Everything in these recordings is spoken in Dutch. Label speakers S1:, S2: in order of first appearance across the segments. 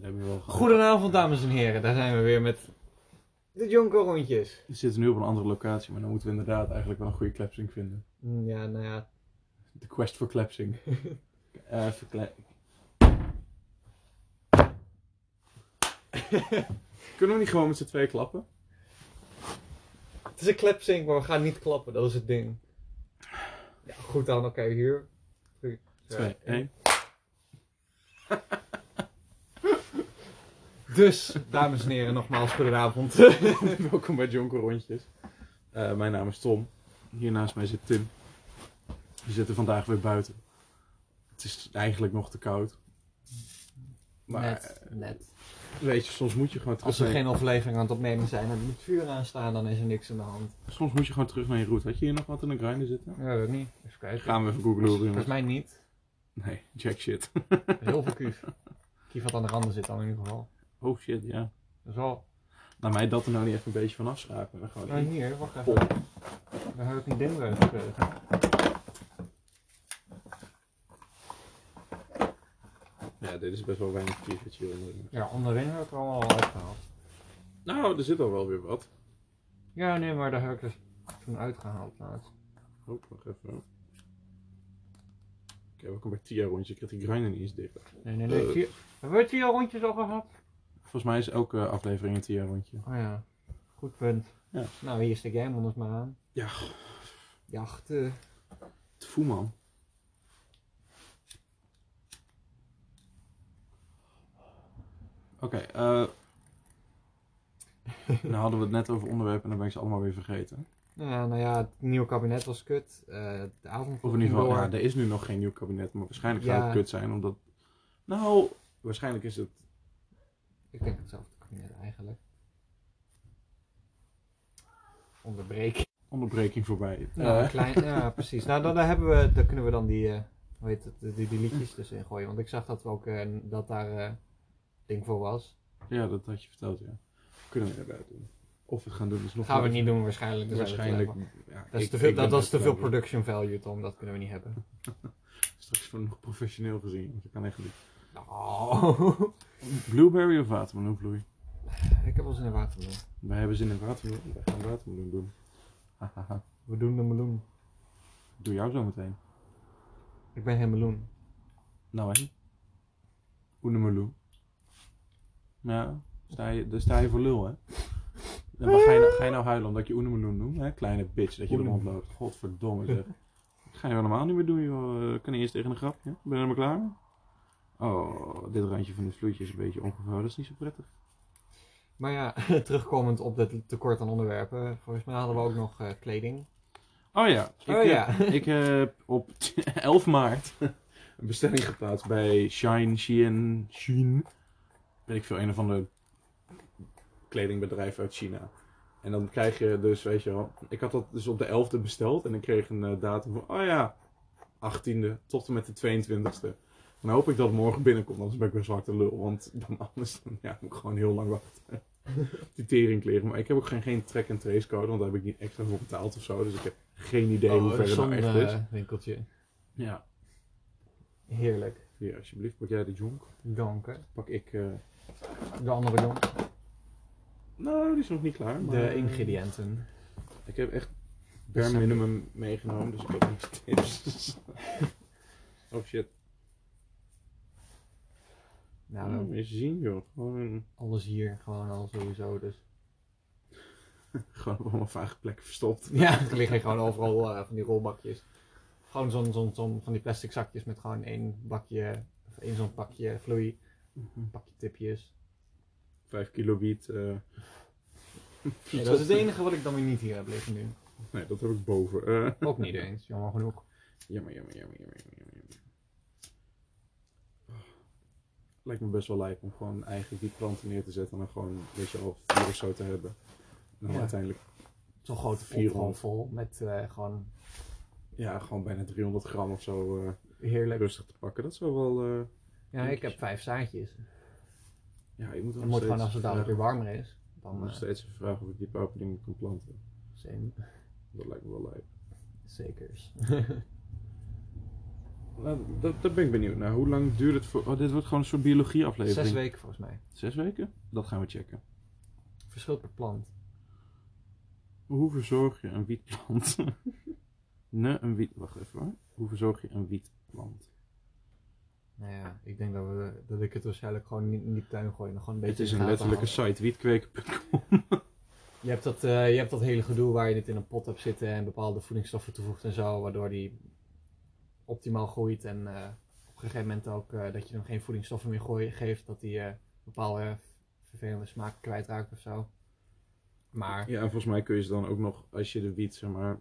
S1: Hebben we wel gedaan.
S2: Goedenavond, dames en heren. Daar zijn we weer met de Jonko-rondjes.
S1: We zitten nu op een andere locatie, maar dan moeten we inderdaad eigenlijk wel een goede klepsing vinden.
S2: Hm, Ja, nou ja.
S1: De quest voor klepsing. Eh verkle- Kunnen we niet gewoon met z'n twee klappen?
S2: Het is een klepsink, maar we gaan niet klappen. Dat is het ding. Ja, goed dan. Oké, hier. Drie,
S1: Twee, één.
S2: Dus, dames en heren, nogmaals goedenavond.
S1: Welkom bij Jonko Rondjes. Eh, mijn naam is Tom. Hier naast mij zit Tim. We zitten vandaag weer buiten. Het is eigenlijk nog te koud. Maar
S2: net, net.
S1: eh, weet je, soms moet je gewoon terug
S2: Als we
S1: naar je-
S2: geen aflevering aan het opnemen zijn en het vuur aanstaan, dan is er niks aan de hand.
S1: Soms moet je gewoon terug naar je route. Had je hier nog wat in de grinder zitten?
S2: Ja, weet ik niet. Even kijken.
S1: Gaan we even googlen hoor, jongens.
S2: Volgens mij niet.
S1: Nee, jack shit.
S2: Heel veel kief. Kief wat aan de randen zit dan in ieder geval.
S1: Oh shit, ja.
S2: Dat is wel...
S1: Laat mij dat er nou niet even een beetje van afschapen. Dan gewoon
S2: Nou,
S1: in.
S2: hier, wacht even.
S1: Pop.
S2: Dan heb ik niet dingeren gekregen.
S1: Ja, dit is best wel weinig kies wat je wil doen.
S2: Ja, onderin heb ik er allemaal al uitgehaald.
S1: Nou, er zit al wel weer wat.
S2: Ja, nee, maar daar heb ik dus toen uitgehaald laatst.
S1: Hop, Oh, wacht even. hoor. Oké, welkom bij Tia rondje. Ik krijg die grinder niet eens dicht.
S2: Nee, nee, nee.
S1: Eh.
S2: Tio- Hebben we Tio rondjes al gehad?
S1: Volgens mij is elke aflevering een Tia rondje.
S2: Oh ja, goed punt.
S1: Ja.
S2: Nou, hier stik jij hem anders maar aan.
S1: Ja.
S2: Jachten.
S1: Het voel man. Oké, eh. nou hadden we het net over onderwerpen en dan ben ik ze allemaal weer vergeten.
S2: Ja, nou ja, het nieuwe kabinet was kut. Eh, de avond
S1: Of in ieder geval, ja, er is nu nog geen nieuw kabinet, maar waarschijnlijk zou
S2: Ja.
S1: het kut zijn, omdat... Nou, waarschijnlijk is het...
S2: Ik denk hetzelfde kabinet eigenlijk. Onderbreking.
S1: Onderbreking voorbij.
S2: Ja,
S1: Eh,
S2: Nou, klein, ja precies. Nou, dan, daar, hebben we, daar kunnen we dan die, eh, hoe heet het, die, die liedjes dus in gooien. Want ik zag dat, we ook, eh, dat daar eh, ding voor was.
S1: ja, dat had je verteld, ja. Kunnen we erbij doen. Of we het gaan doen, is nog...
S2: Dat gaan we
S1: wel-
S2: niet doen waarschijnlijk. dus
S1: Waarschijnlijk...
S2: Dat,
S1: Ja,
S2: dat, is
S1: ik-
S2: te
S1: ik
S2: veel,
S1: ben
S2: dat was
S1: best
S2: te veel
S1: wel-
S2: production value, Tom. Dat kunnen we niet hebben.
S1: Straks van nog professioneel gezien, want ik kan echt niet.
S2: Oh.
S1: Nou. Blueberry of watermeloenvloei?
S2: ik heb ons in de watermeloen.
S1: Wij hebben zin in watermeloen. Wij gaan watermeloen doen. Hahaha.
S2: We doen de meloen.
S1: Doe jou zo meteen.
S2: Ik ben geen meloen.
S1: Nou hè? Oenemeloen. Ja, sta je, daar sta je voor lul hè? Ja, maar ga, je, nou- ga je nou huilen omdat je oenemeloen noemt hè? Kleine bitch dat je er
S2: Oenemeloen.
S1: rondloopt. Godverdomme zeg. Dat ga je wel normaal niet meer doen joh. Ik kan eerst tegen een grapje. Ben je er maar klaar mee? Oh, dit randje van dit vloeitje is een beetje ongevouwen. Dat is niet zo prettig.
S2: Maar ja, terugkomend op dat tekort aan onderwerpen. Volgens mij hadden we ook nog eh, kleding.
S1: Oh ja. Ik,
S2: Oh
S1: heb-
S2: ja.
S1: ik heb op 11 maart een bestelling geplaatst bij Shine, Shein, Shein. Weet ik veel, een of ander kledingbedrijf uit China. En dan krijg je dus, weet je wel, ik had dat dus op de 11e besteld en ik kreeg een eh, datum van, oh ja, 18e tot en met de 22e. Dan hoop ik dat het morgen binnenkomt, anders ben ik best wel hard de lul. Want dan anders dan, ja, moet ik gewoon heel lang wachten. Die teringkleren. Maar ik heb ook geen, geen track and trace code, want daar heb ik niet extra voor betaald of zo. Dus ik heb geen idee
S2: Oh,
S1: hoe ver het nou echt is.
S2: eh, winkeltje.
S1: Ja.
S2: Heerlijk.
S1: Hier, alsjeblieft, pak jij de jonk.
S2: Dank hè.
S1: Pak ik... eh,
S2: De andere jongen.
S1: Nou, die is nog niet klaar. Maar, eh,
S2: De ingrediënten.
S1: Ik heb echt bare minimum meegenomen, dus ik heb niks tips. oh shit.
S2: Nou,
S1: Nou, eens zien joh. Gewoon, een-
S2: alles hier, gewoon al sowieso. Dus.
S1: gewoon op allemaal vage plekken verstopt.
S2: Ja, er liggen gewoon overal eh, van die rolbakjes. Gewoon zo'n, zo'n, zo'n van die plastic zakjes met gewoon één bakje, of één zo'n pakje vloei, een pakje tipjes.
S1: Vijf kilo wiet. eh.
S2: Ja, dat is het enige wat ik dan weer niet hier heb liggen nu.
S1: Nee, dat heb ik boven. Eh,
S2: Ook niet eens, jammer genoeg.
S1: Jammer, jammer, jammer, jammer, jammer, jammer. Oh. Lijkt me best wel lijp om gewoon eigenlijk die planten neer te zetten en dan gewoon, weet je al, vier of zo te hebben. En dan
S2: Ja.
S1: uiteindelijk,
S2: Zo'n grote pot
S1: Vier
S2: gewoon
S1: rond.
S2: vol met eh, gewoon
S1: ja, gewoon bijna 300 gram of zo eh,
S2: heerlijk.
S1: rustig te pakken. Dat zou wel, eh,
S2: Ja, ik heb vijf zaadjes.
S1: ja, ik moet,
S2: Het
S1: nog
S2: moet
S1: steeds
S2: gewoon als het dadelijk weer
S1: vragen-
S2: warmer is,
S1: ik moet
S2: dan
S1: nog
S2: eh,
S1: steeds vragen of ik die dingen kan planten.
S2: zijn
S1: Dat lijkt me wel lijp.
S2: zekers.
S1: Nou, dat, dat ben ik benieuwd naar. Hoe lang duurt het voor... Oh, dit wordt gewoon een soort biologieaflevering.
S2: Zes weken volgens mij.
S1: Zes weken? Dat gaan we checken.
S2: Verschilt per plant.
S1: Hoe verzorg je een wietplant? ne, een wiet... Wacht even hoor. Hoe verzorg je een wietplant?
S2: Nou ja, ik denk dat, we, dat ik het waarschijnlijk gewoon niet in die tuin gooi. en Gewoon een
S1: Het
S2: beetje
S1: is
S2: in
S1: een
S2: de gaten
S1: letterlijke
S2: houden.
S1: site, wietkweken.com.
S2: Je hebt, dat, eh, je hebt dat hele gedoe waar je dit in een pot hebt zitten en bepaalde voedingsstoffen toevoegt en zo, waardoor die optimaal groeit en eh, op een gegeven moment ook eh, dat je hem geen voedingsstoffen meer gooi, geeft, dat die eh, bepaalde vervelende smaak kwijtraakt of zo. Maar
S1: Ja, en volgens mij kun je ze dan ook nog, als je de wiet, zeg maar,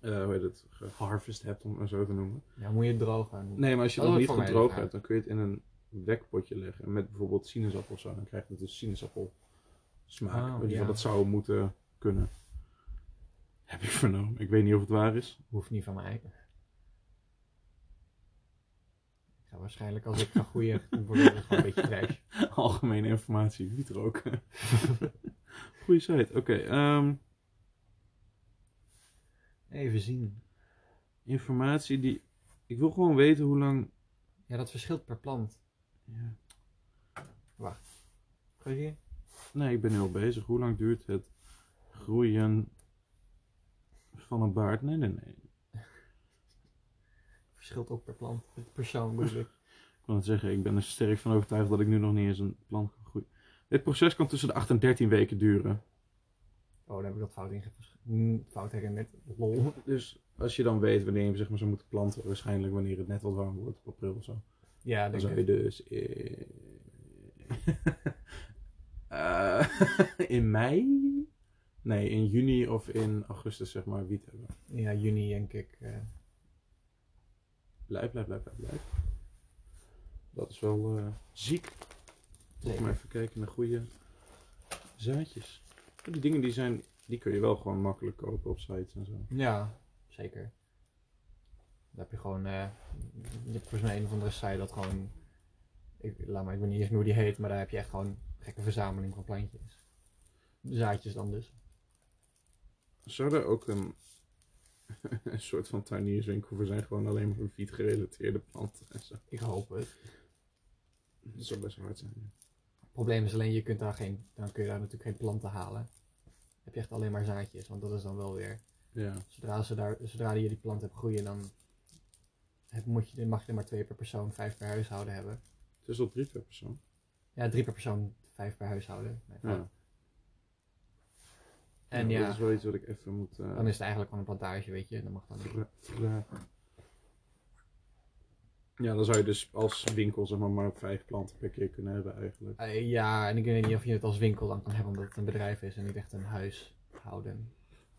S1: eh, hoe heet het, geharvest hebt, om het maar zo te noemen.
S2: ja, moet je het drogen.
S1: Nee, maar als je
S2: Oh,
S1: het nog niet
S2: dat vond
S1: goed
S2: mij
S1: droog
S2: raar.
S1: hebt, dan kun je het in een wekpotje leggen. En met bijvoorbeeld sinaasappel of zo, dan krijgt het dus sinaasappelsmaak.
S2: Oh,
S1: Weet je
S2: ja.
S1: wel, dat zou moeten kunnen. Heb ik vernomen. Ik weet niet of het waar is.
S2: Hoeft niet van mij. Ik ga waarschijnlijk als ik ga groeien, wordt het gewoon een beetje trash.
S1: Algemene informatie, wiet roken. Goeie site. Oké, ehm,
S2: Even zien.
S1: informatie die... Ik wil gewoon weten hoe lang...
S2: Ja, dat verschilt per plant.
S1: Ja.
S2: Ga je hier?
S1: Nee, ik ben nu al bezig. Hoe lang duurt het groeien van een baard? Nee, nee, nee.
S2: Verschilt ook per plant. Persoon bedoel ik.
S1: Ik wil het zeggen, ik ben er sterk van overtuigd dat ik nu nog niet eens een plan kan groeien. Dit proces kan tussen de 8 en 13 weken duren.
S2: Oh, dan heb ik dat fout ingevoerd. Fout herinnerd. Lol.
S1: Dus als je dan weet wanneer je hem zeg maar, zou moeten planten, waarschijnlijk wanneer het net wat warm wordt, op april of zo.
S2: Ja,
S1: Dan
S2: denk
S1: zou
S2: ik.
S1: je dus in, Eh, in mei? Nee, in juni of in augustus zeg maar wiet hebben.
S2: Ja, juni denk ik. eh.
S1: Blijf, blijf, blijf, blijf, blijf. Dat is wel eh, ziek. Laten we maar even kijken naar goede zaadjes. Ja, Die dingen die zijn, die kun je wel gewoon makkelijk kopen op sites en zo.
S2: ja, zeker. Dan heb je gewoon. eh, je hebt volgens mij een of andere site dat gewoon. Ik, laat maar, ik weet niet eens meer hoe die heet, maar daar heb je echt gewoon een gekke verzameling van plantjes. Zaadjes dan dus.
S1: Zou er ook een, een soort van tuinierswinkel voor zijn, gewoon alleen maar wiet gerelateerde planten en zo?
S2: Ik hoop het.
S1: Dat zou best hard zijn. ja.
S2: Het probleem is alleen, je kunt daar geen, dan kun je daar natuurlijk geen planten halen. Dan heb je echt alleen maar zaadjes, want dat is dan wel weer.
S1: Ja,
S2: Zodra, ze daar, zodra je die plant hebt groeien, dan heb, moet je, mag je er maar twee per persoon, vijf per huishouden hebben.
S1: het is al drie per persoon.
S2: Ja, drie per persoon, vijf per huishouden. Mijn fout.
S1: Ja.
S2: En
S1: Ja,
S2: ja,
S1: Dat is wel iets wat ik even moet eh,
S2: dan is het eigenlijk gewoon een plantage, weet je. Dan mag dan
S1: vra- vragen. Ja, dan zou je dus als winkel zeg maar, maar vijf planten per keer kunnen hebben eigenlijk.
S2: Eh, ja, en ik weet niet of je het als winkel dan kan hebben, omdat het een bedrijf is en niet echt een huishouden.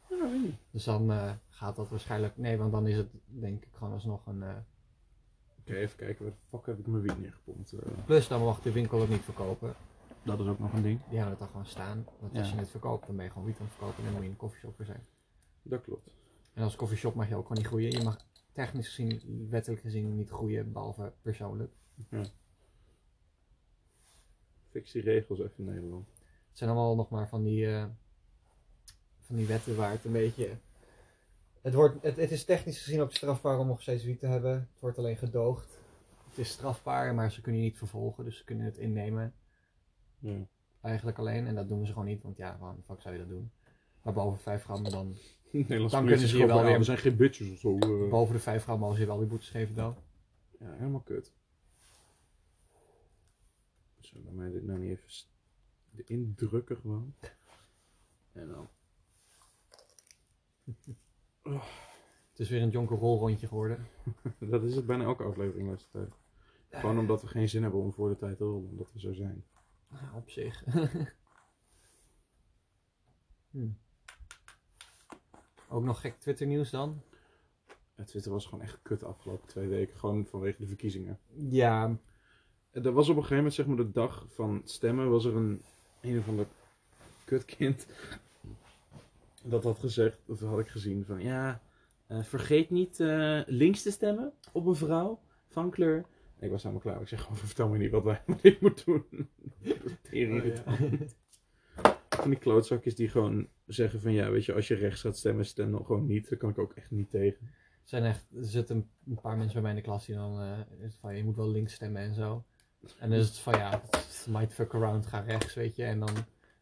S1: Ja, weet niet.
S2: Dus dan eh, gaat dat waarschijnlijk... Nee, want dan is het denk ik gewoon alsnog een... eh,
S1: Oké, even kijken, waar de fuck heb ik mijn wiet neergepompt? Eh,
S2: Plus, dan mag de winkel het niet verkopen.
S1: dat is ook nog een ding.
S2: Die hebben het dan gewoon staan. Want als
S1: Ja.
S2: je het verkoopt, dan ben je gewoon wiet aan het verkopen en dan moet je in een koffieshop weer zijn.
S1: Dat klopt.
S2: En als koffieshop mag je ook gewoon niet groeien. Je mag technisch gezien, wettelijk gezien niet groeien, behalve persoonlijk.
S1: Fix die regels even in Nederland.
S2: Het zijn allemaal nog maar van die, eh, van die wetten waar het een beetje... Het, wordt, het, het is technisch gezien ook strafbaar om nog steeds wiet te hebben. Het wordt alleen gedoogd. Het is strafbaar, maar ze kunnen je niet vervolgen. Dus ze kunnen het innemen
S1: Ja.
S2: eigenlijk alleen. En dat doen ze gewoon niet, want ja, waarom de fuck zou je dat doen? Maar boven 5 gram dan...
S1: Nederlands
S2: Dan kunnen ze je wel weer-
S1: Er zijn geen bitches of zo. eh.
S2: Boven de 5 gram mogen ze je wel die boetes geven dan.
S1: Ja, helemaal kut. Zou bij mij dit nou niet even s- de indrukken gewoon? En dan.
S2: Het is weer een Jonker Rol rondje geworden.
S1: Dat is het bijna elke aflevering de laatste tijd.
S2: Eh.
S1: Gewoon omdat we geen zin hebben om voor de tijd te rollen, omdat we zo zijn.
S2: Ja, Ah, op zich. Hm. Ook nog gek Twitter nieuws dan?
S1: Het Twitter was gewoon echt kut de afgelopen twee weken, gewoon vanwege de verkiezingen.
S2: Ja.
S1: Er was op een gegeven moment, zeg maar, de dag van stemmen, was er een een of ander kutkind. Dat had gezegd, of had ik gezien van ja, eh, vergeet niet eh, links te stemmen op een vrouw van kleur. En ik was helemaal klaar. Ik zeg gewoon, vertel me niet wat wij wat ik moet doen.
S2: Oh,
S1: Tering. Van die klootzakjes die gewoon zeggen van ja, weet je, als je rechts gaat stemmen, stem dan gewoon niet. Daar kan ik ook echt niet tegen.
S2: zijn echt, er zitten een paar mensen bij mij in de klas die dan eh, is van je moet wel links stemmen en zo. En dan is het van ja, might fuck around, ga rechts, weet je. En dan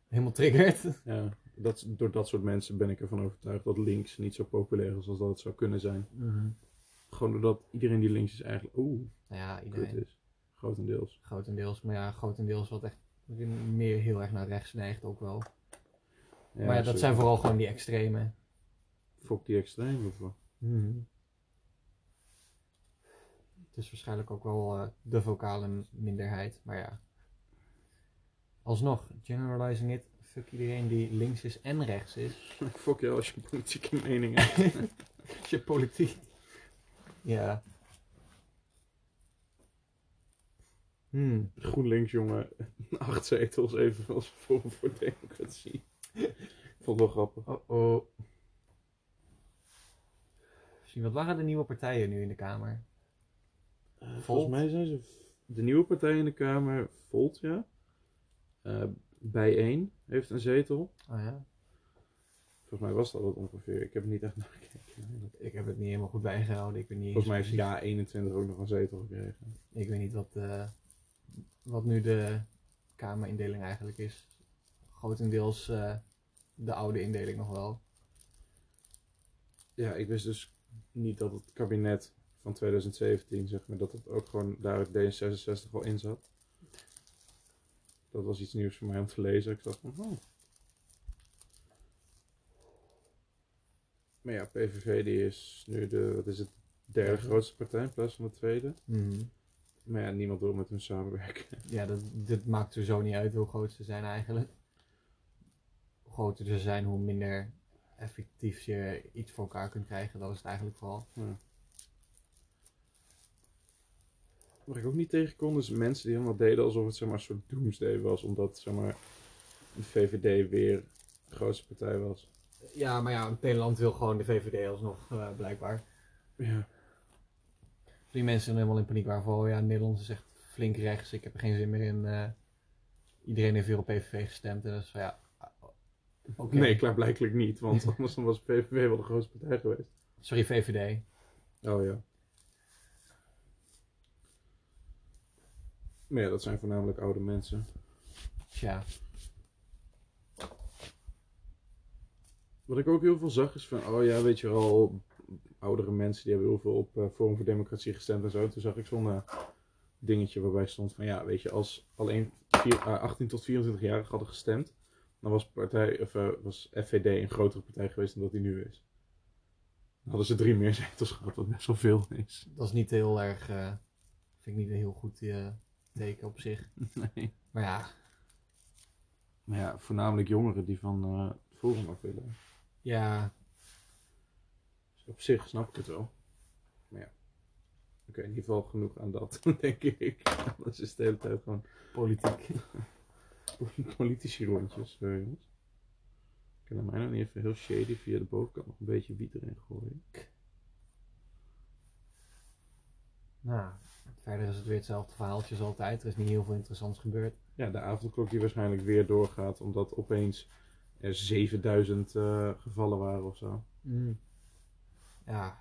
S2: helemaal triggerd.
S1: Ja, dat, door dat soort mensen ben ik ervan overtuigd dat links niet zo populair is als dat het zou kunnen zijn. Gewoon doordat iedereen die links is eigenlijk, oeh,
S2: Nou ja,
S1: kut
S2: iedereen.
S1: is. Grotendeels.
S2: Grotendeels. Maar ja, grotendeels wat echt meer heel erg naar rechts neigt ook wel.
S1: Ja,
S2: maar ja, dat
S1: sorry.
S2: zijn vooral gewoon die extreme.
S1: Fok die extreem of wat?
S2: Mhm. Het is waarschijnlijk ook wel eh, de vocale m- minderheid, maar ja. Alsnog, generalizing it, fuck iedereen die links is en rechts is.
S1: Fok jou als je politieke mening hebt.
S2: Als je politiek. Ja. Hmm.
S1: GroenLinks, jongen, acht zetels evenals Forum voor Democratie. Vond wel grappig.
S2: Oh oh. Misschien, wat waren de nieuwe partijen nu in de Kamer?
S1: Eh,
S2: Volt?
S1: volgens mij zijn ze v- de nieuwe partij in de Kamer, Volt, ja. Eh bijeen heeft een zetel.
S2: Oh ja.
S1: Volgens mij was dat wat ongeveer. Ik heb er niet echt naar gekeken.
S2: Ik heb het niet helemaal goed bijgehouden. Ik weet niet
S1: Volgens mij
S2: eens
S1: heeft Ja 21 ook nog een zetel gekregen.
S2: Ik weet niet wat, eh, wat nu de kamerindeling eigenlijk is. Grotendeels eh, de oude indeling nog wel.
S1: Ja, ik wist dus niet dat het kabinet van 2017, zeg maar, dat het ook gewoon daar het D66 al in zat. Dat was iets nieuws voor mij om te lezen. Ik dacht van, oh. Maar ja, PVV die is nu de, wat is het, derde
S2: Derde.
S1: grootste partij in plaats van de tweede.
S2: Mhm.
S1: Maar ja, niemand wil met hun samenwerken.
S2: Ja, dat, dat maakt sowieso niet uit hoe groot ze zijn eigenlijk. Hoe groter ze zijn, hoe minder effectief je iets voor elkaar kunt krijgen. Dat is het eigenlijk vooral.
S1: Wat ik ook niet tegen kon, is mensen die helemaal deden alsof het zeg maar, een soort doomsday was. Omdat zeg maar, de VVD weer de grootste partij was.
S2: Ja, maar ja, Nederland wil gewoon de VVD alsnog eh, blijkbaar.
S1: Ja.
S2: Die mensen zijn helemaal in paniek waren van, oh ja, Nederland is echt flink rechts, ik heb er geen zin meer in. eh, iedereen heeft weer op PVV gestemd en dat is van, ja, eh, oké.
S1: Nee, klaarblijkelijk niet, want anders dan was PVV wel de grootste partij geweest.
S2: Sorry, VVD.
S1: Oh ja. Maar ja, dat zijn voornamelijk oude mensen.
S2: Tja,
S1: Wat ik ook heel veel zag is van, oh ja, weet je wel, oudere mensen die hebben heel veel op eh, Forum voor Democratie gestemd en zo. Toen zag ik zo'n eh, dingetje waarbij stond van, ja, weet je, als alleen vier- eh, 18 tot 24-jarigen hadden gestemd, dan was, partij, of, eh, was FVD een grotere partij geweest dan dat die nu is. Dan hadden ze drie meer zetels gehad, wat best wel veel is.
S2: dat is niet heel erg, eh, vind ik niet een heel goed eh, teken op zich.
S1: Nee.
S2: Maar ja,
S1: Maar ja, voornamelijk jongeren die van eh, het Forum af willen.
S2: ja,
S1: Dus op zich snap ik het wel. Maar ja. Oké, in ieder geval genoeg aan dat, denk ik. Anders is het de hele tijd gewoon
S2: politiek.
S1: politici rondjes, eh, jongens. Kunnen mij nou niet even heel shady via de bovenkant nog een beetje wiet erin gooien?
S2: nou, verder is het weer hetzelfde verhaaltje als altijd. Er is niet heel veel interessants gebeurd.
S1: Ja, de avondklok die waarschijnlijk weer doorgaat, omdat opeens er 7000 eh, gevallen waren of zo. Mm.
S2: Ja.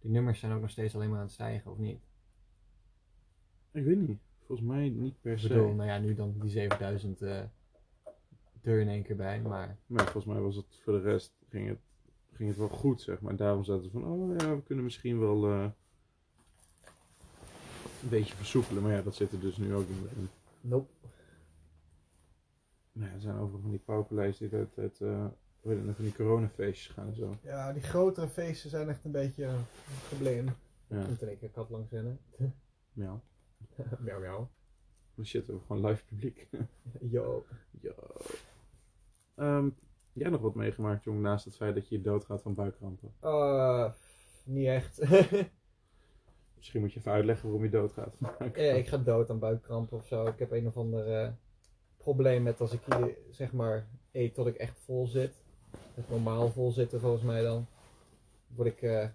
S2: Die nummers zijn ook nog steeds alleen maar aan het stijgen, of niet?
S1: Ik weet niet. Volgens mij niet per
S2: Ik
S1: se.
S2: bedoel, nou ja, nu dan die 7000 eh deur in één keer bij, maar
S1: Maar volgens mij was het voor de rest ging het, ging het wel goed, zeg maar. Daarom zaten ze van, oh ja, we kunnen misschien wel eh, een beetje versoepelen. Maar ja, dat zit er dus nu ook niet meer in.
S2: nope.
S1: Maar nou ja, er zijn overal van die pauperlijsten die uit, uit eh, hoe heet het, nou, van die coronafeestjes gaan en zo.
S3: Ja, die grotere feesten zijn echt een beetje eh, gebleem.
S1: Ja,
S2: moet in één keer kat langs rennen.
S1: ja.
S3: Miauw, miauw.
S1: Maar shit, we hebben gewoon live publiek.
S3: Yo.
S1: ja. Ehm, jij nog wat meegemaakt, jong, naast het feit dat je doodgaat van buikkrampen?
S3: Eh, niet echt.
S1: Misschien moet je even uitleggen waarom je doodgaat van buikkrampen.
S3: ja, Eh, ik ga dood aan buikkrampen of zo. Ik heb een of ander eh, probleem met als ik hier, zeg maar, eet tot ik echt vol zit. Het normaal vol zitten volgens mij dan. Word ik, eh,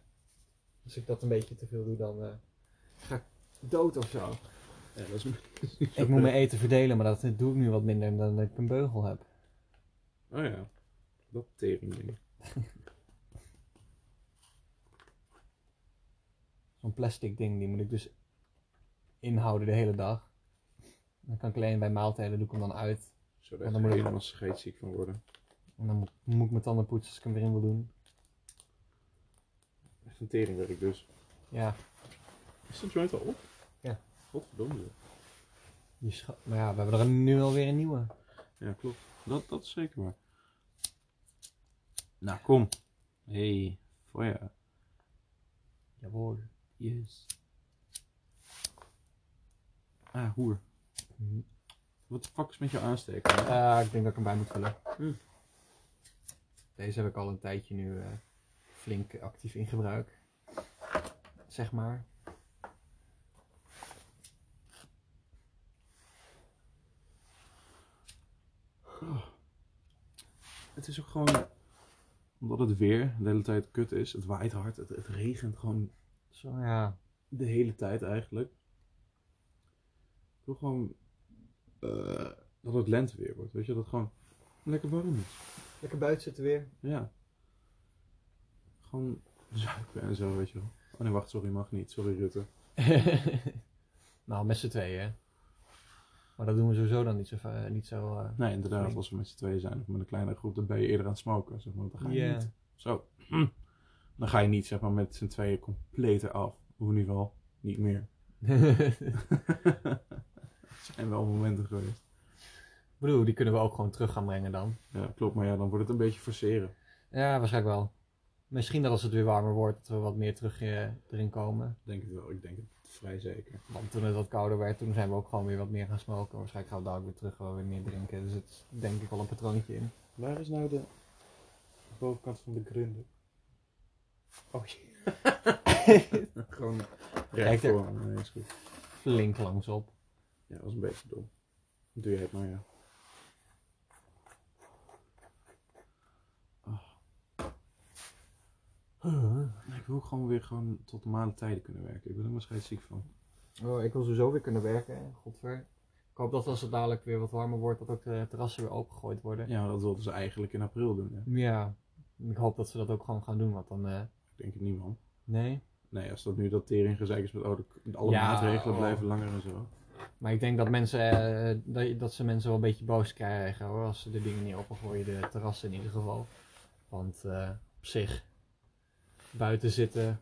S3: als ik dat een beetje te veel doe, dan eh, ga ik dood of zo.
S1: Ja, dat is...
S2: Ik moet mijn eten verdelen, maar dat doe ik nu wat minder dan dat ik een beugel heb.
S1: Oh ja, dat teringding.
S2: Zo'n plastic ding, die moet ik dus inhouden de hele dag. Dan kan ik alleen bij maaltijden doe ik hem dan uit.
S1: Zou
S2: Maar
S1: er echt
S2: dan moet ik-
S1: helemaal scheetziek van worden.
S2: En dan moet, moet ik mijn tanden poetsen als ik hem weer in wil doen.
S1: Echt een teringwerk dus.
S2: Ja,
S1: Is de joint al op?
S2: Ja.
S1: Godverdomme.
S2: die scha- maar ja, we hebben er nu alweer een nieuwe.
S1: Ja, klopt. Dat, dat is zeker waar. Nou, kom. hey, voor ja.
S2: Jawohl.
S1: Yes. Ah, hoer.
S2: Mhm.
S1: Wat de fuck is met jou aansteken? hè?
S2: Eh, ik denk dat ik hem bij moet vullen.
S3: Hmm.
S1: Hm.
S2: Deze heb ik al een tijdje nu eh, flink actief in gebruik. Zeg maar.
S1: Het is ook gewoon... Omdat het weer de hele tijd kut is. Het waait hard. Het, het regent gewoon
S2: Zo ja.
S1: de hele tijd eigenlijk. Ik wil gewoon... eh, dat het lente weer wordt. Weet je, dat het gewoon lekker warm is.
S3: Lekker buiten zitten weer.
S1: Ja. Gewoon zuipen en zo, weet je wel. Oh nee, wacht, sorry, mag niet. Sorry, Rutte.
S2: nou, met z'n tweeën. hè. Maar dat doen we sowieso dan niet zo. va- Niet zo eh,
S1: Nee, inderdaad,
S2: Nee.
S1: als we met z'n tweeën zijn of met een kleinere groep, dan ben je eerder aan het smoken. Zeg maar, dan ga je
S2: ja.
S1: niet. Zo. Dan ga je niet, zeg maar, met z'n tweeën compleet eraf. Of in ieder geval, niet meer. Er zijn wel momenten geweest.
S2: ik bedoel, die kunnen we ook gewoon terug gaan brengen dan.
S1: Ja, klopt, maar ja, dan wordt het een beetje forceren.
S2: Ja, waarschijnlijk wel. Misschien dat als het weer warmer wordt, dat we wat meer terug eh, erin komen.
S1: Ik Denk het wel, ik denk het vrij zeker.
S2: Want toen het wat kouder werd, toen zijn we ook gewoon weer wat meer gaan smoken. Waarschijnlijk gaan we daar ook weer terug wel weer meer drinken. Dus het is denk ik wel een patroontje in.
S1: Waar is nou de bovenkant van de grunde? Oh Gewoon recht
S2: er-
S1: voor. Nee, is goed.
S2: Flink langs op.
S1: Ja, dat was een beetje dom. Doe jij het maar, ja. Ah. Ik wil ook gewoon weer gewoon tot normale tijden kunnen werken. Ik ben er maar scheidsziek van.
S2: Oh, ik wil sowieso weer kunnen werken. Godver. Ik hoop dat als het dadelijk weer wat warmer wordt, dat ook de terrassen weer opengegooid worden.
S1: Ja, maar dat wilden ze eigenlijk in april doen. Hè?
S2: Ja, ik hoop dat ze dat ook gewoon gaan doen, want dan... eh,
S1: Ik denk het niet, man.
S2: nee.
S1: Nee, als dat nu dat tering gezeik is met oh, de- alle
S2: Ja,
S1: maatregelen
S2: oh.
S1: blijven langer en zo.
S2: Maar ik denk dat mensen, eh, dat, dat ze mensen wel een beetje boos krijgen hoor, als ze de dingen niet opengooien, de terrassen in ieder geval. Want eh, op zich, buiten zitten
S1: Heb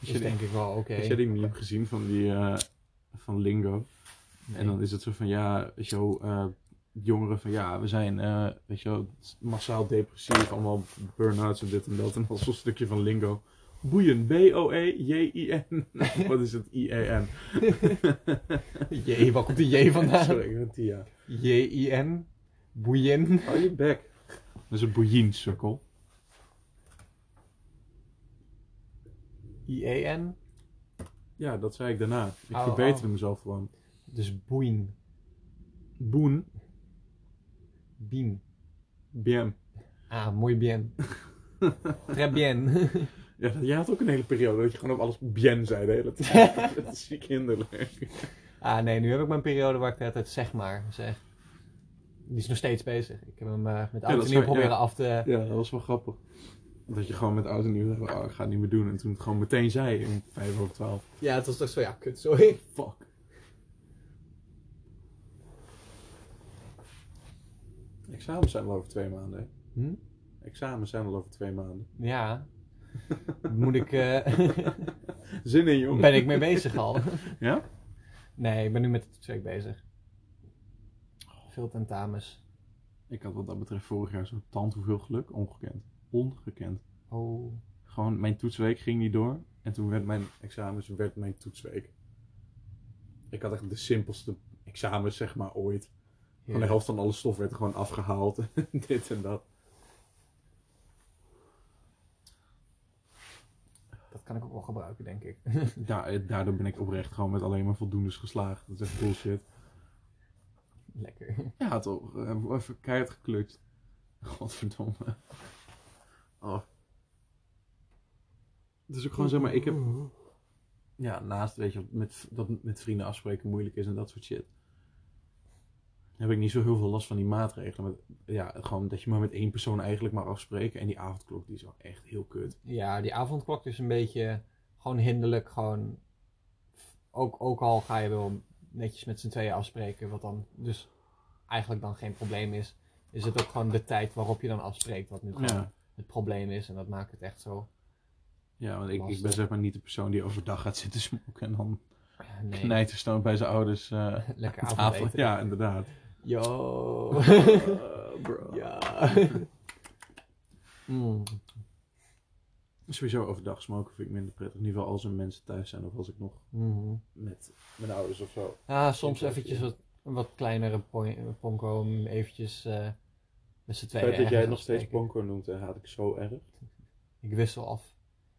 S2: is
S1: je, die,
S2: denk ik wel oké.
S1: heb jij die meme gezien van die, eh, van Lingo?
S2: Nee.
S1: En dan is het zo van, ja, weet je wel, eh, jongeren van, ja, we zijn, eh, weet je wel, massaal depressief, allemaal burn-outs en dit en dat. En dan zo'n stukje van lingo. Boeien, E B-O-E-J-I-N. Wat is het? E I-E-N.
S2: J, waar komt die J vandaan?
S1: Sorry, ik ben Tia.
S2: J-I-N? Boeien?
S1: Hou je bek. Dat is een boeien, sukkel.
S2: I-E-N?
S1: Ja, dat zei ik daarna. Ik
S2: Oh,
S1: verbeterde
S2: oh.
S1: mezelf gewoon.
S2: Dus boeien.
S1: Boen,
S2: Bien.
S1: bien.
S2: Ah, mooi bien. Très bien.
S1: Ja, dat- jij had ook een hele periode dat je gewoon op alles bien zei de hele tijd. dat is ziek hinderlijk.
S2: Ah nee, nu heb ik mijn periode waar ik de hele tijd zeg maar zeg. Die is nog steeds bezig. Ik heb hem eh, met
S1: dat
S2: oud en
S1: is
S2: nieuw
S1: waar,
S2: proberen
S1: ja.
S2: af te...
S1: Ja, dat was wel grappig. Dat je gewoon met oud en nieuw zei, oh, ik ga het niet meer doen. En toen het gewoon meteen zei om vijf over twaalf.
S2: Ja, het was toch zo, ja, kut, sorry.
S1: Fuck. Examens zijn al over twee maanden, hè?
S2: Hm?
S1: Examens zijn al over twee maanden.
S2: Ja. Moet ik... eh,
S1: Zin in, jongen.
S2: ben ik mee bezig al?
S1: Ja?
S2: Nee, ik ben nu met het toetsweek bezig. Veel tentamens.
S1: Ik had wat dat betreft vorig jaar zo'n tand hoeveel geluk. Ongekend. Ongekend.
S2: Oh.
S1: Gewoon, mijn toetsweek ging niet door. En toen werd mijn examens werd mijn toetsweek. Ik had echt de simpelste examens, zeg maar, ooit. Van de helft van alle stof werd er gewoon afgehaald. Dit en dat.
S2: Dat kan ik ook wel gebruiken, denk ik.
S1: Da- eh, daardoor ben ik oprecht gewoon met alleen maar voldoendes geslaagd. Dat is echt bullshit.
S2: Lekker.
S1: Ja, toch. Eh, Even keihard geklukt. Godverdomme. Oh. Het is ook gewoon, zeg maar, ik heb... Ja, naast, weet je, met, dat met vrienden afspreken moeilijk is en dat soort shit. Heb ik niet zo heel veel last van die maatregelen. Maar ja, gewoon dat je maar met één persoon eigenlijk maar afspreken. En die avondklok, die is wel echt heel kut.
S2: Ja, die avondklok is een beetje Gewoon hinderlijk, gewoon... Ook, ook al ga je wel netjes met z'n tweeën afspreken, wat dan dus eigenlijk dan geen probleem is, is het ook gewoon de tijd waarop je dan afspreekt wat nu gewoon
S1: Ja.
S2: het probleem is. En dat maakt het echt zo...
S1: Ja, want ik, ik ben
S2: Lastig.
S1: zeg maar niet de persoon die overdag gaat zitten smoken en dan
S2: Nee,
S1: knijterstoot bij zijn ouders eh,
S2: lekker
S1: aan tafel.
S2: avondeten.
S1: Ja, inderdaad.
S2: Yo.
S1: Eh, bro.
S2: ja. Mm.
S1: Sowieso overdag smoken vind ik minder prettig. In ieder geval als er mensen thuis zijn of als ik nog
S2: Mhm.
S1: met mijn ouders of zo.
S2: Ja, soms eventjes wat, wat kleinere pon- ponko om eventjes eh met z'n
S1: Het
S2: tweeën
S1: feit dat jij
S2: ergens
S1: het nog steeds
S2: afspreken.
S1: ponko noemt, eh, haat ik zo erg.
S2: Ik wissel af.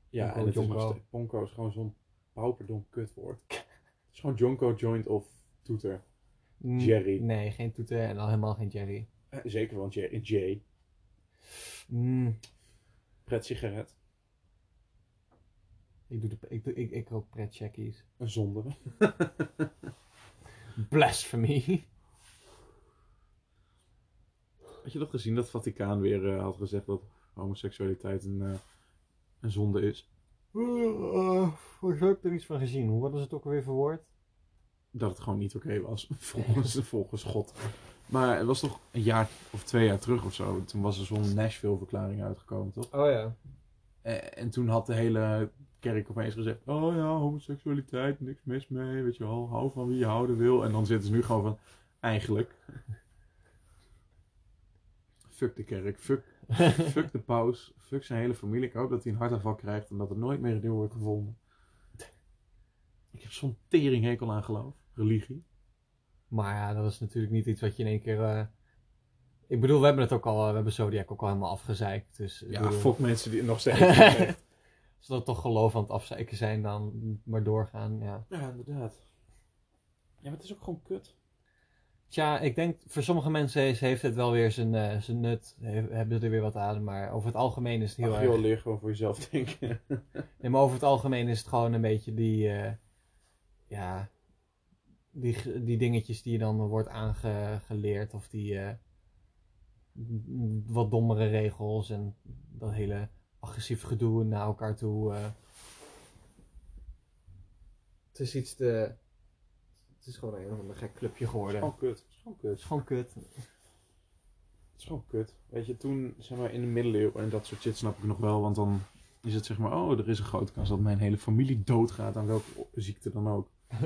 S1: Ja,
S2: Jonko,
S1: en het is nog
S2: jonko.
S1: steeds, ponko is gewoon zo'n pauperdom kutwoord. Het is gewoon jonko, joint of toeter.
S2: Mm,
S1: Jerry.
S2: Nee, geen toeter en al helemaal geen Jerry.
S1: Eh, Zeker, want J, J
S2: Mm,
S1: pret-sigaret,
S2: ik, doe de, ik, doe, ik, ik rook pretcheckies.
S1: een zonde.
S2: Blasphemy.
S1: Had je nog gezien dat Vaticaan weer eh, had gezegd dat homoseksualiteit een, eh, een zonde is?
S2: Volgens mij heb Eh, ik er iets van gezien. Hoe hadden ze het ook alweer verwoord?
S1: dat het gewoon niet oké was, volgens, volgens God. Maar het was toch een jaar of twee jaar terug of zo. Toen was er zo'n Nashville-verklaring uitgekomen, toch?
S3: Oh ja.
S1: En, en toen had de hele kerk opeens gezegd... Oh ja, homoseksualiteit, niks mis mee, weet je wel. Hou van wie je houden wil. En dan zitten ze nu gewoon van... Eigenlijk... Fuck de kerk, fuck, fuck de paus, fuck zijn hele familie. Ik hoop dat hij een hartaanval krijgt en dat er nooit meer een nieuw wordt gevonden. Ik heb zo'n teringhekel aan geloof, religie.
S2: Maar ja, dat is natuurlijk niet iets wat je in één keer... eh, Ik bedoel, we hebben het ook al... We hebben Zodiac ook al helemaal afgezeikt. Dus, ik
S1: Ja,
S2: bedoel-
S1: fuck mensen die nog steeds.
S2: Als dat toch geloof aan het afzeiken zijn, dan maar doorgaan. Ja.
S1: ja, inderdaad. Ja, maar het is ook gewoon kut.
S2: Tja, ik denk voor sommige mensen is- heeft het wel weer zijn, eh, zijn nut. He- hebben er weer wat aan. Maar over het algemeen is het heel
S1: Ach,
S2: erg.
S1: joh, leer gewoon voor jezelf denken.
S2: Nee, maar over het algemeen is het gewoon een beetje die. eh, ja. Die, ge- die dingetjes die je dan wordt aangeleerd. Of die. eh, m- wat dommere regels en dat hele agressief gedoe naar elkaar toe. eh.
S3: Het is iets te... Het is gewoon een of ander gek
S2: clubje geworden.
S1: Gewoon kut. Het is gewoon
S2: Het
S1: kut.
S2: is gewoon kut.
S1: Het is gewoon kut. Weet je, toen, zeg maar, in de middeleeuwen en dat soort shit snap ik nog wel. Want dan is het zeg maar, oh, er is een grote kans dat mijn hele familie doodgaat aan welke o- ziekte dan ook. Eh,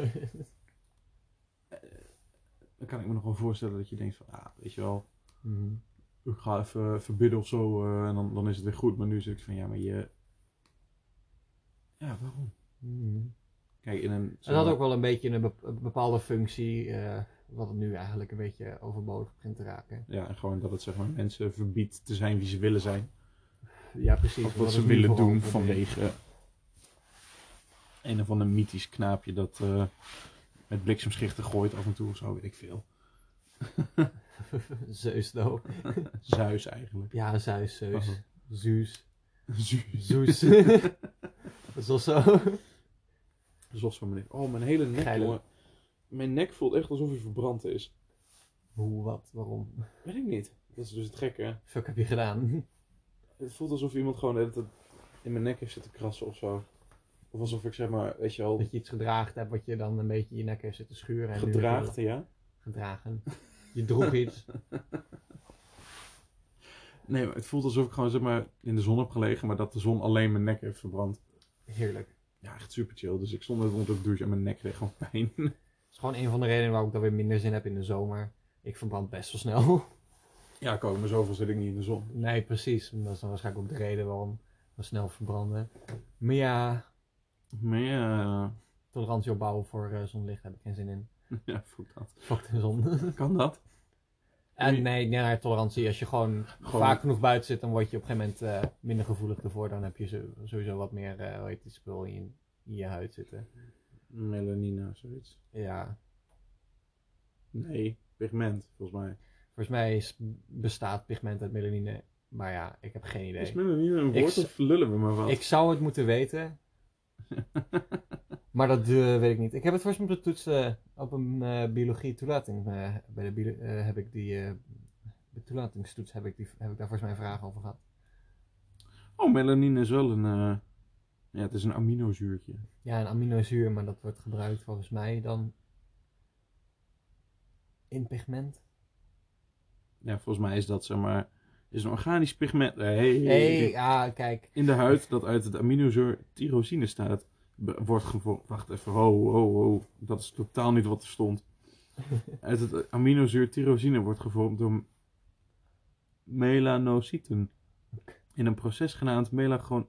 S1: Dan kan ik me nog wel voorstellen dat je denkt van, ah, weet je wel,
S2: Mhm.
S1: ik ga even verbidden of zo eh, en dan, dan is het weer goed. Maar nu zit ik van, ja, maar je... Ja, waarom?
S2: Mhm.
S1: Kijk, in een...
S2: Het had ook wel een beetje een bep- een bepaalde functie, eh, wat het nu eigenlijk een beetje overbodig begint te raken.
S1: Ja, en gewoon dat het zeg maar, mensen verbiedt te zijn wie ze willen zijn.
S2: Ja, precies.
S1: Of wat ze willen doen vanwege eh, een of ander mythisch knaapje dat eh, met bliksemschichten gooit af en toe of zo, weet ik veel.
S2: Zeus, though.
S1: Zeus eigenlijk.
S2: Ja, Zeus, Zeus.
S1: Oh.
S2: Zeus.
S1: Zeus.
S2: Zeus. Dat is wel zo.
S1: Zoals van meneer. Oh, mijn hele nek,
S2: Geile.
S1: jongen. Mijn nek voelt echt alsof hij verbrand is.
S2: Hoe, wat, waarom?
S1: Weet ik niet. Dat is dus het gekke.
S2: Fuck heb je gedaan?
S1: Het voelt alsof iemand gewoon de hele tijd in mijn nek heeft zitten krassen of zo. Of alsof ik zeg maar, weet je wel,
S2: Dat je iets gedraagd hebt wat je dan een beetje in je nek heeft zitten schuren. En nu
S1: gedraagd, ja.
S2: Gedragen. Je droeg iets.
S1: Nee, maar het voelt alsof ik gewoon zeg maar in de zon heb gelegen, maar dat de zon alleen mijn nek heeft verbrand.
S2: Heerlijk.
S1: Ja, echt super chill. Dus ik stond net onder de douche en mijn nek kreeg gewoon pijn.
S2: Dat is gewoon een van de redenen waarom ik dan weer minder zin heb in de zomer. Ik verbrand best wel snel.
S1: Ja, ik ook, maar zoveel zit ik niet in de zon.
S2: Nee, precies. Dat is dan waarschijnlijk ook de reden waarom we snel verbranden. Maar ja,
S1: Maar ja,
S2: tolerantie opbouwen voor eh, zonlicht heb ik geen zin in.
S1: ja voelt dat.
S2: Fuck de zon.
S1: Kan dat?
S2: en nee, nee, tolerantie. Als je gewoon,
S1: Gewoon-
S2: vaak genoeg buiten zit, dan word je op een gegeven moment eh, minder gevoelig ervoor. Dan heb je zo- sowieso wat meer, eh hoe heet die spul in je, in je huid zitten.
S1: Melanine of zoiets.
S2: Ja,
S1: Nee, pigment, volgens mij.
S2: volgens mij is- bestaat pigment uit melanine. Maar ja, ik heb geen
S1: Is
S2: idee.
S1: melanine een
S2: Ik
S1: woord
S2: z-
S1: of lullen we maar wat?
S2: Ik zou het moeten weten. maar dat eh, weet ik niet. Ik heb het voor eens moeten toetsen op een eh, biologie toelating. eh, bij de bio- eh, heb ik die eh, bij de toelatingstoets heb ik, die, heb ik daar volgens mij vragen over gehad.
S1: Oh, melanine is wel een eh, Ja, het is een aminozuurtje.
S2: Ja, een aminozuur, maar dat wordt gebruikt volgens mij dan in pigment.
S1: Ja, volgens mij is dat zeg maar. Is een organisch pigment. eh, Hey,
S2: Nee, ja, kijk.
S1: In de huid dat uit het aminozuur tyrosine staat, be- wordt gevormd. Wacht even, ho, ho, ho. Dat is totaal niet wat er stond. uit het aminozuur tyrosine wordt gevormd door melanocyten. In een proces genaamd melagon-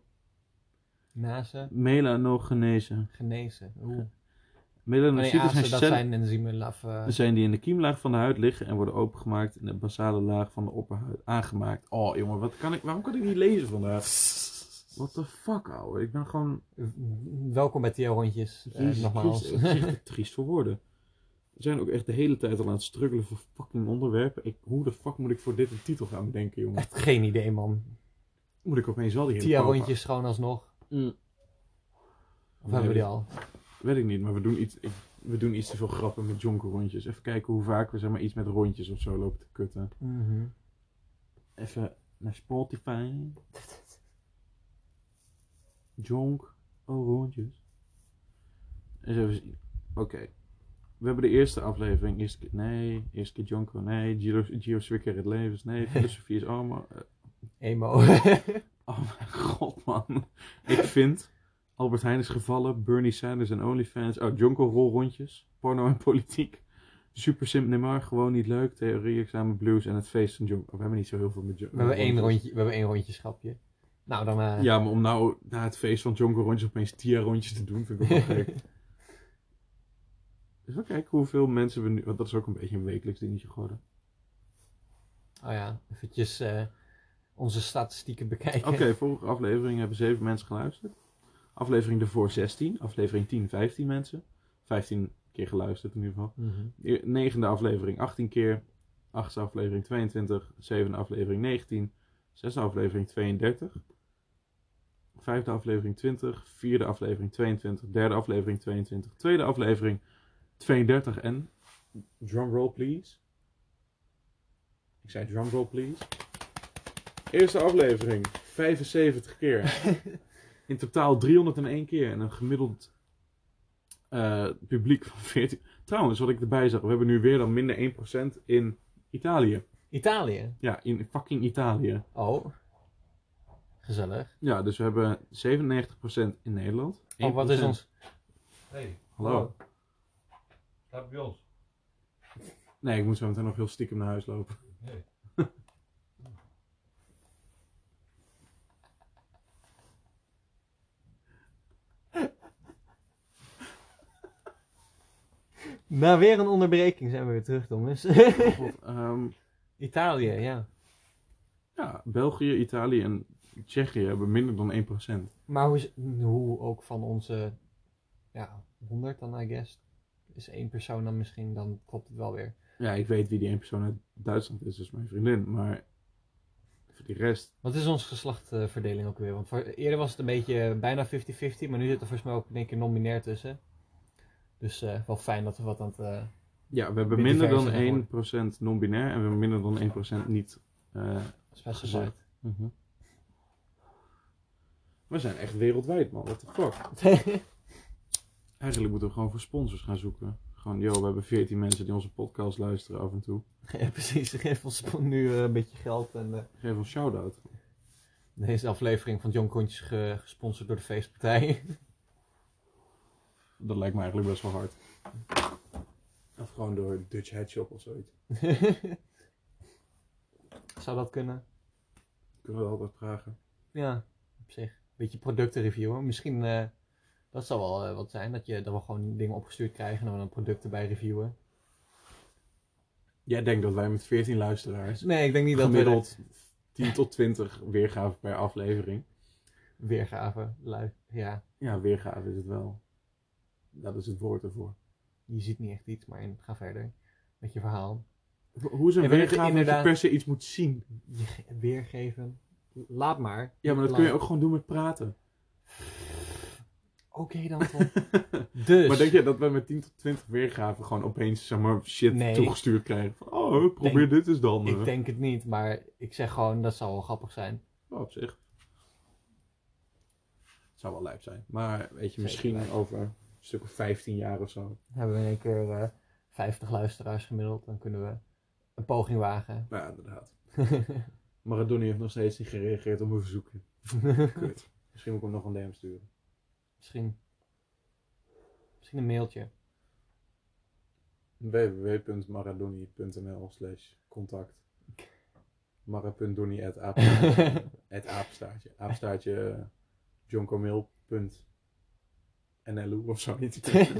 S2: Nazen,
S1: melanogenese.
S2: genezen. Oeh. Nee,
S1: Melanocyten zijn
S2: azen, Oh dat
S1: cellen
S2: zijn enzymen. Laf, eh,
S1: zijn die in de kiemlaag van de huid liggen en worden opengemaakt in de basale laag van de opperhuid aangemaakt. Oh jongen, wat kan ik, waarom kan ik niet lezen vandaag? What the fuck, ouwe. Ik ben gewoon
S2: welkom bij Theo Rondjes, eh,
S1: Jezus
S2: nogmaals.
S1: Christus, het is echt te triest voor woorden. We zijn ook echt de hele tijd al aan het struggelen voor fucking onderwerpen. Ik, hoe de fuck moet ik voor dit een titel gaan bedenken, jongen?
S2: Echt geen idee, man.
S1: Moet ik opeens wel die hele
S2: Theo
S1: pauw
S2: Rondjes gewoon alsnog.
S1: pakken? Mm.
S2: Of hebben we die al?
S1: Weet ik niet, maar we doen iets, ik- we doen iets te veel grappen met jonkerrondjes. Even kijken hoe vaak we zeg maar, iets met rondjes of zo lopen te kutten.
S2: Mhm.
S1: Even naar Spotify. Jonk. Oh, rondjes. Eens even zien. Oké. We hebben de eerste aflevering. Eerste keer, nee. Eerste keer Jonko, nee. Gio, Gio Swicker, het levens, nee. Filosofie is allemaal... eh,
S2: Emo.
S1: oh mijn god, man. Ik vind... Albert Heijn is gevallen. Bernie Sanders en OnlyFans. Oh, Jonko rolrondjes. Porno en politiek. Super Sim Neymar, gewoon niet leuk. Theorie, examen, blues en het feest van Jonko. We hebben niet zo heel veel met Jonko.
S2: we, hebben één rondje, we hebben één rondjeschapje. Nou, dan... eh,
S1: Ja, maar om nou na het feest van Jonko rondjes opeens Tia rondjes te doen, vind ik ook wel gek. Dus we kijken hoeveel mensen we nu... Want dat is ook een beetje een wekelijks dingetje geworden.
S2: Oh ja, eventjes eh, onze statistieken bekijken.
S1: Oké, vorige aflevering hebben zeven mensen geluisterd. Aflevering ervoor 16. Aflevering 10, 15 mensen. 15 keer geluisterd in ieder geval.
S2: Mhm.
S1: E- Negende aflevering 18 keer. Achtste aflevering 22. Zevende aflevering 19. Zesde aflevering 32. Vijfde aflevering 20. Vierde aflevering 22. Derde aflevering 22. Tweede aflevering 32. En drumroll please. Ik zei drumroll please. Eerste aflevering 75 keer. In totaal 301 keer. En een gemiddeld eh, publiek van 14. Trouwens, wat ik erbij zag, we hebben nu weer dan minder 1% in Italië.
S2: Italië.
S1: Ja, in fucking Italië.
S2: Oh. Gezellig.
S1: Ja, dus we hebben 97% in Nederland.
S2: Oh, wat is
S1: 1%.
S2: ons... oh.
S4: Hey,
S1: Hallo.
S4: slaap bij ons.
S1: Nee, ik moet zo meteen nog heel stiekem naar huis lopen.
S4: Nee.
S2: Na Nou, weer een onderbreking zijn we weer terug, Thomas.
S1: God, ehm,
S2: Italië, ja.
S1: ja, België, Italië en Tsjechië hebben minder dan 1%.
S2: Maar hoe, is, hoe ook van onze ja, 100 dan, I guess. Is één persoon dan misschien, dan klopt het wel weer.
S1: Ja, ik weet wie die één persoon uit Duitsland is, dus mijn vriendin. Maar voor die rest,
S2: Wat is onze geslachtverdeling ook weer? Want voor, eerder was het een beetje eh, bijna 50-50, maar nu zit er volgens mij ook in één keer non-binair tussen. Dus eh, wel fijn dat we wat aan het... eh,
S1: ja, we hebben
S2: Beetje
S1: minder
S2: diverser dan
S1: dan 1% non-binair en we hebben minder dan 1% niet eh,
S2: specified.
S1: Mhm. We zijn echt wereldwijd, man. What the fuck? Eigenlijk moeten we gewoon voor sponsors gaan zoeken. Gewoon, joh, we hebben 14 mensen die onze podcast luisteren af en toe.
S2: Ja, precies. Geef ons nu eh, een beetje geld. En, eh,
S1: Geef ons shout-out.
S2: Deze aflevering van John Kontjes ge- gesponsord door de feestpartij.
S1: Dat lijkt me eigenlijk best wel hard. Of gewoon door Dutch Headshop of zoiets.
S2: Zou dat kunnen?
S1: Kunnen we altijd vragen.
S2: Ja, op zich. Beetje producten reviewen. Misschien, eh, dat zou wel eh, wat zijn. Dat, je, dat we gewoon dingen opgestuurd krijgen en dat we dan producten bij reviewen.
S1: Jij denkt dat wij met 14 luisteraars
S2: Nee, ik denk niet dat we dat
S1: gemiddeld 10 tot 20 weergaven per aflevering.
S2: weergaven. Lui. Ja,
S1: Ja, weergave is het wel. Dat is het woord ervoor.
S2: je ziet niet echt iets, maar in- ga verder met je verhaal.
S1: Hoe is een
S2: Ja, maar dit-
S1: weergave dat
S2: inderdaad-
S1: je per se iets moet zien?
S2: Je ge- weergeven. Laat maar.
S1: Ja, maar dat kun je ook gewoon doen met praten.
S2: Oké dan, Tom. dus.
S1: Maar denk je dat we met 10 tot 20 weergaven gewoon opeens zeg maar, shit
S2: Nee.
S1: toegestuurd krijgen? Van, oh, probeer dit eens dan. eh.
S2: Ik denk het niet, maar ik zeg gewoon, dat zou wel grappig zijn.
S1: Oh, op zich. Zo Oh, Zou wel lijp zijn. Maar weet je,
S2: Zeker
S1: misschien
S2: lijp.
S1: over een stuk of 15 jaar of zo.
S2: Dan hebben we in één keer eh 50 luisteraars gemiddeld. Dan kunnen we een poging wagen.
S1: Nou ja, inderdaad. Maradoni heeft nog steeds niet gereageerd op mijn verzoekje. Kut. Misschien moet ik hem nog een DM sturen.
S2: misschien, misschien een mailtje.
S1: www.maradoni.nl slash contact. Mara.donnie at aap- at aapstaartje. Aapstaartje eh, johncomail.nlu of zoiets.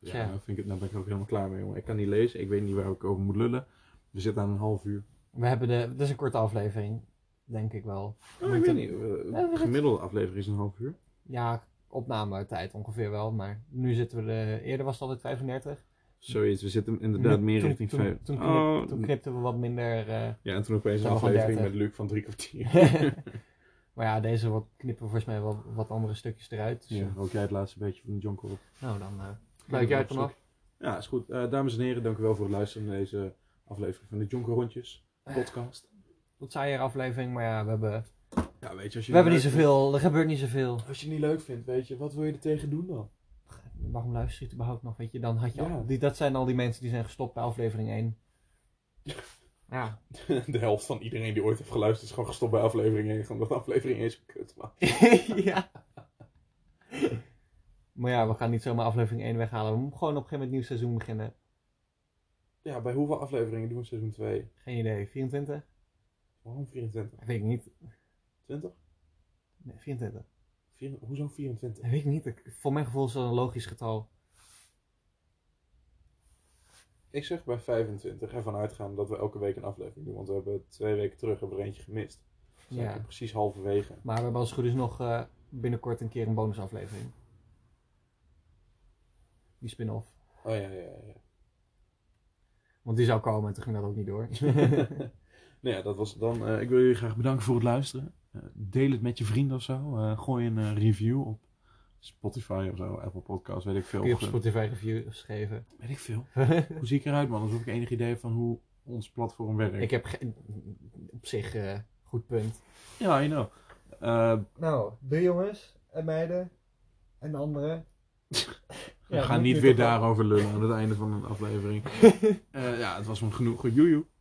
S1: Ja,
S2: Tja.
S1: nou vind ik het, nou ben ik ook helemaal klaar mee, jongen. Ik kan niet lezen, ik weet niet waar ik over moet lullen. We zitten aan een half uur.
S2: we hebben de, dit is een korte aflevering, denk ik wel.
S1: Oh, ik weet niet, eh,
S2: Ja, dat-
S1: gemiddelde aflevering is een half uur.
S2: Ja, opnametijd ongeveer wel, maar nu zitten we de, eerder was het altijd 35.
S1: Zoiets, we zitten inderdaad
S2: Nu-
S1: meer
S2: toen-
S1: richting
S2: toen,
S1: vijf.
S2: Toen, knip-
S1: Oh,
S2: toen knipten we wat minder. eh,
S1: ja, en toen opeens een
S2: Zijn we gewoon
S1: aflevering met
S2: dertig.
S1: Luc van drie kwartier.
S2: eh, maar ja, deze wat, knippen we volgens mij wel wat andere stukjes eruit. Dus,
S1: Ja, ook jij het laatste beetje van John Corp.
S2: Nou, dan eh sluit jij het dan af.
S1: Ja, is goed. Eh, dames en heren, dank u wel voor het luisteren naar deze aflevering van de Jonker Rondjes
S2: Eh,
S1: podcast.
S2: Tot saaier aflevering, maar ja, we hebben,
S1: Ja, weet je, als je nou-
S2: we hebben niet
S1: leuk
S2: zoveel. Er gebeurt niet zoveel.
S1: vindt- als je het niet leuk vindt, weet je, wat wil je er tegen doen dan?
S2: Waarom luister je het überhaupt nog? Weet je, dan had je
S1: Ja.
S2: al, die, dat zijn al die mensen die zijn gestopt bij aflevering 1. Ja.
S1: De helft van iedereen die ooit heeft geluisterd is gewoon gestopt bij aflevering 1, omdat aflevering 1 zo kut was.
S2: ja. Maar ja, we gaan niet zomaar aflevering 1 weghalen. We moeten gewoon op een gegeven moment nieuw seizoen beginnen.
S1: Ja, bij hoeveel afleveringen doen we seizoen 2?
S2: Geen idee. 24?
S1: Waarom 24?
S2: Dat weet ik niet.
S1: 20?
S2: Nee, 24.
S1: Vier- hoezo 24?
S2: Dat weet ik niet. Ik- voor mijn gevoel is dat een logisch getal.
S1: Ik zeg bij 25, ervan uitgaan dat we elke week een aflevering doen, want we hebben twee weken terug hebben we er eentje gemist. Dus
S2: Ja.
S1: ja. precies halverwege.
S2: Maar we hebben als het goed is nog eh, binnenkort een keer een bonusaflevering. Die spin-off.
S1: Oh ja, ja, ja. ja.
S2: Want die zou komen en toen ging dat ook niet door.
S1: Nou ja, dat was het dan. Eh, ik wil jullie graag bedanken voor het luisteren. Eh, deel het met je vrienden of zo. Eh, gooi een eh, review op Spotify of zo, Apple Podcasts, weet ik veel.
S2: Kun je op
S1: Of, eh,
S2: Spotify reviews geven.
S1: Weet ik veel. Hoe zie ik eruit, man? Alsof ik enig idee heb van hoe ons platform werkt.
S2: ik heb geen- op zich eh, goed punt.
S1: Ja, I know. Eh,
S3: Nou, de jongens en meiden en de anderen.
S1: we gaan niet weer daarover lullen aan het einde van een aflevering. Eh, ja, het was me genoeg. Joejoe.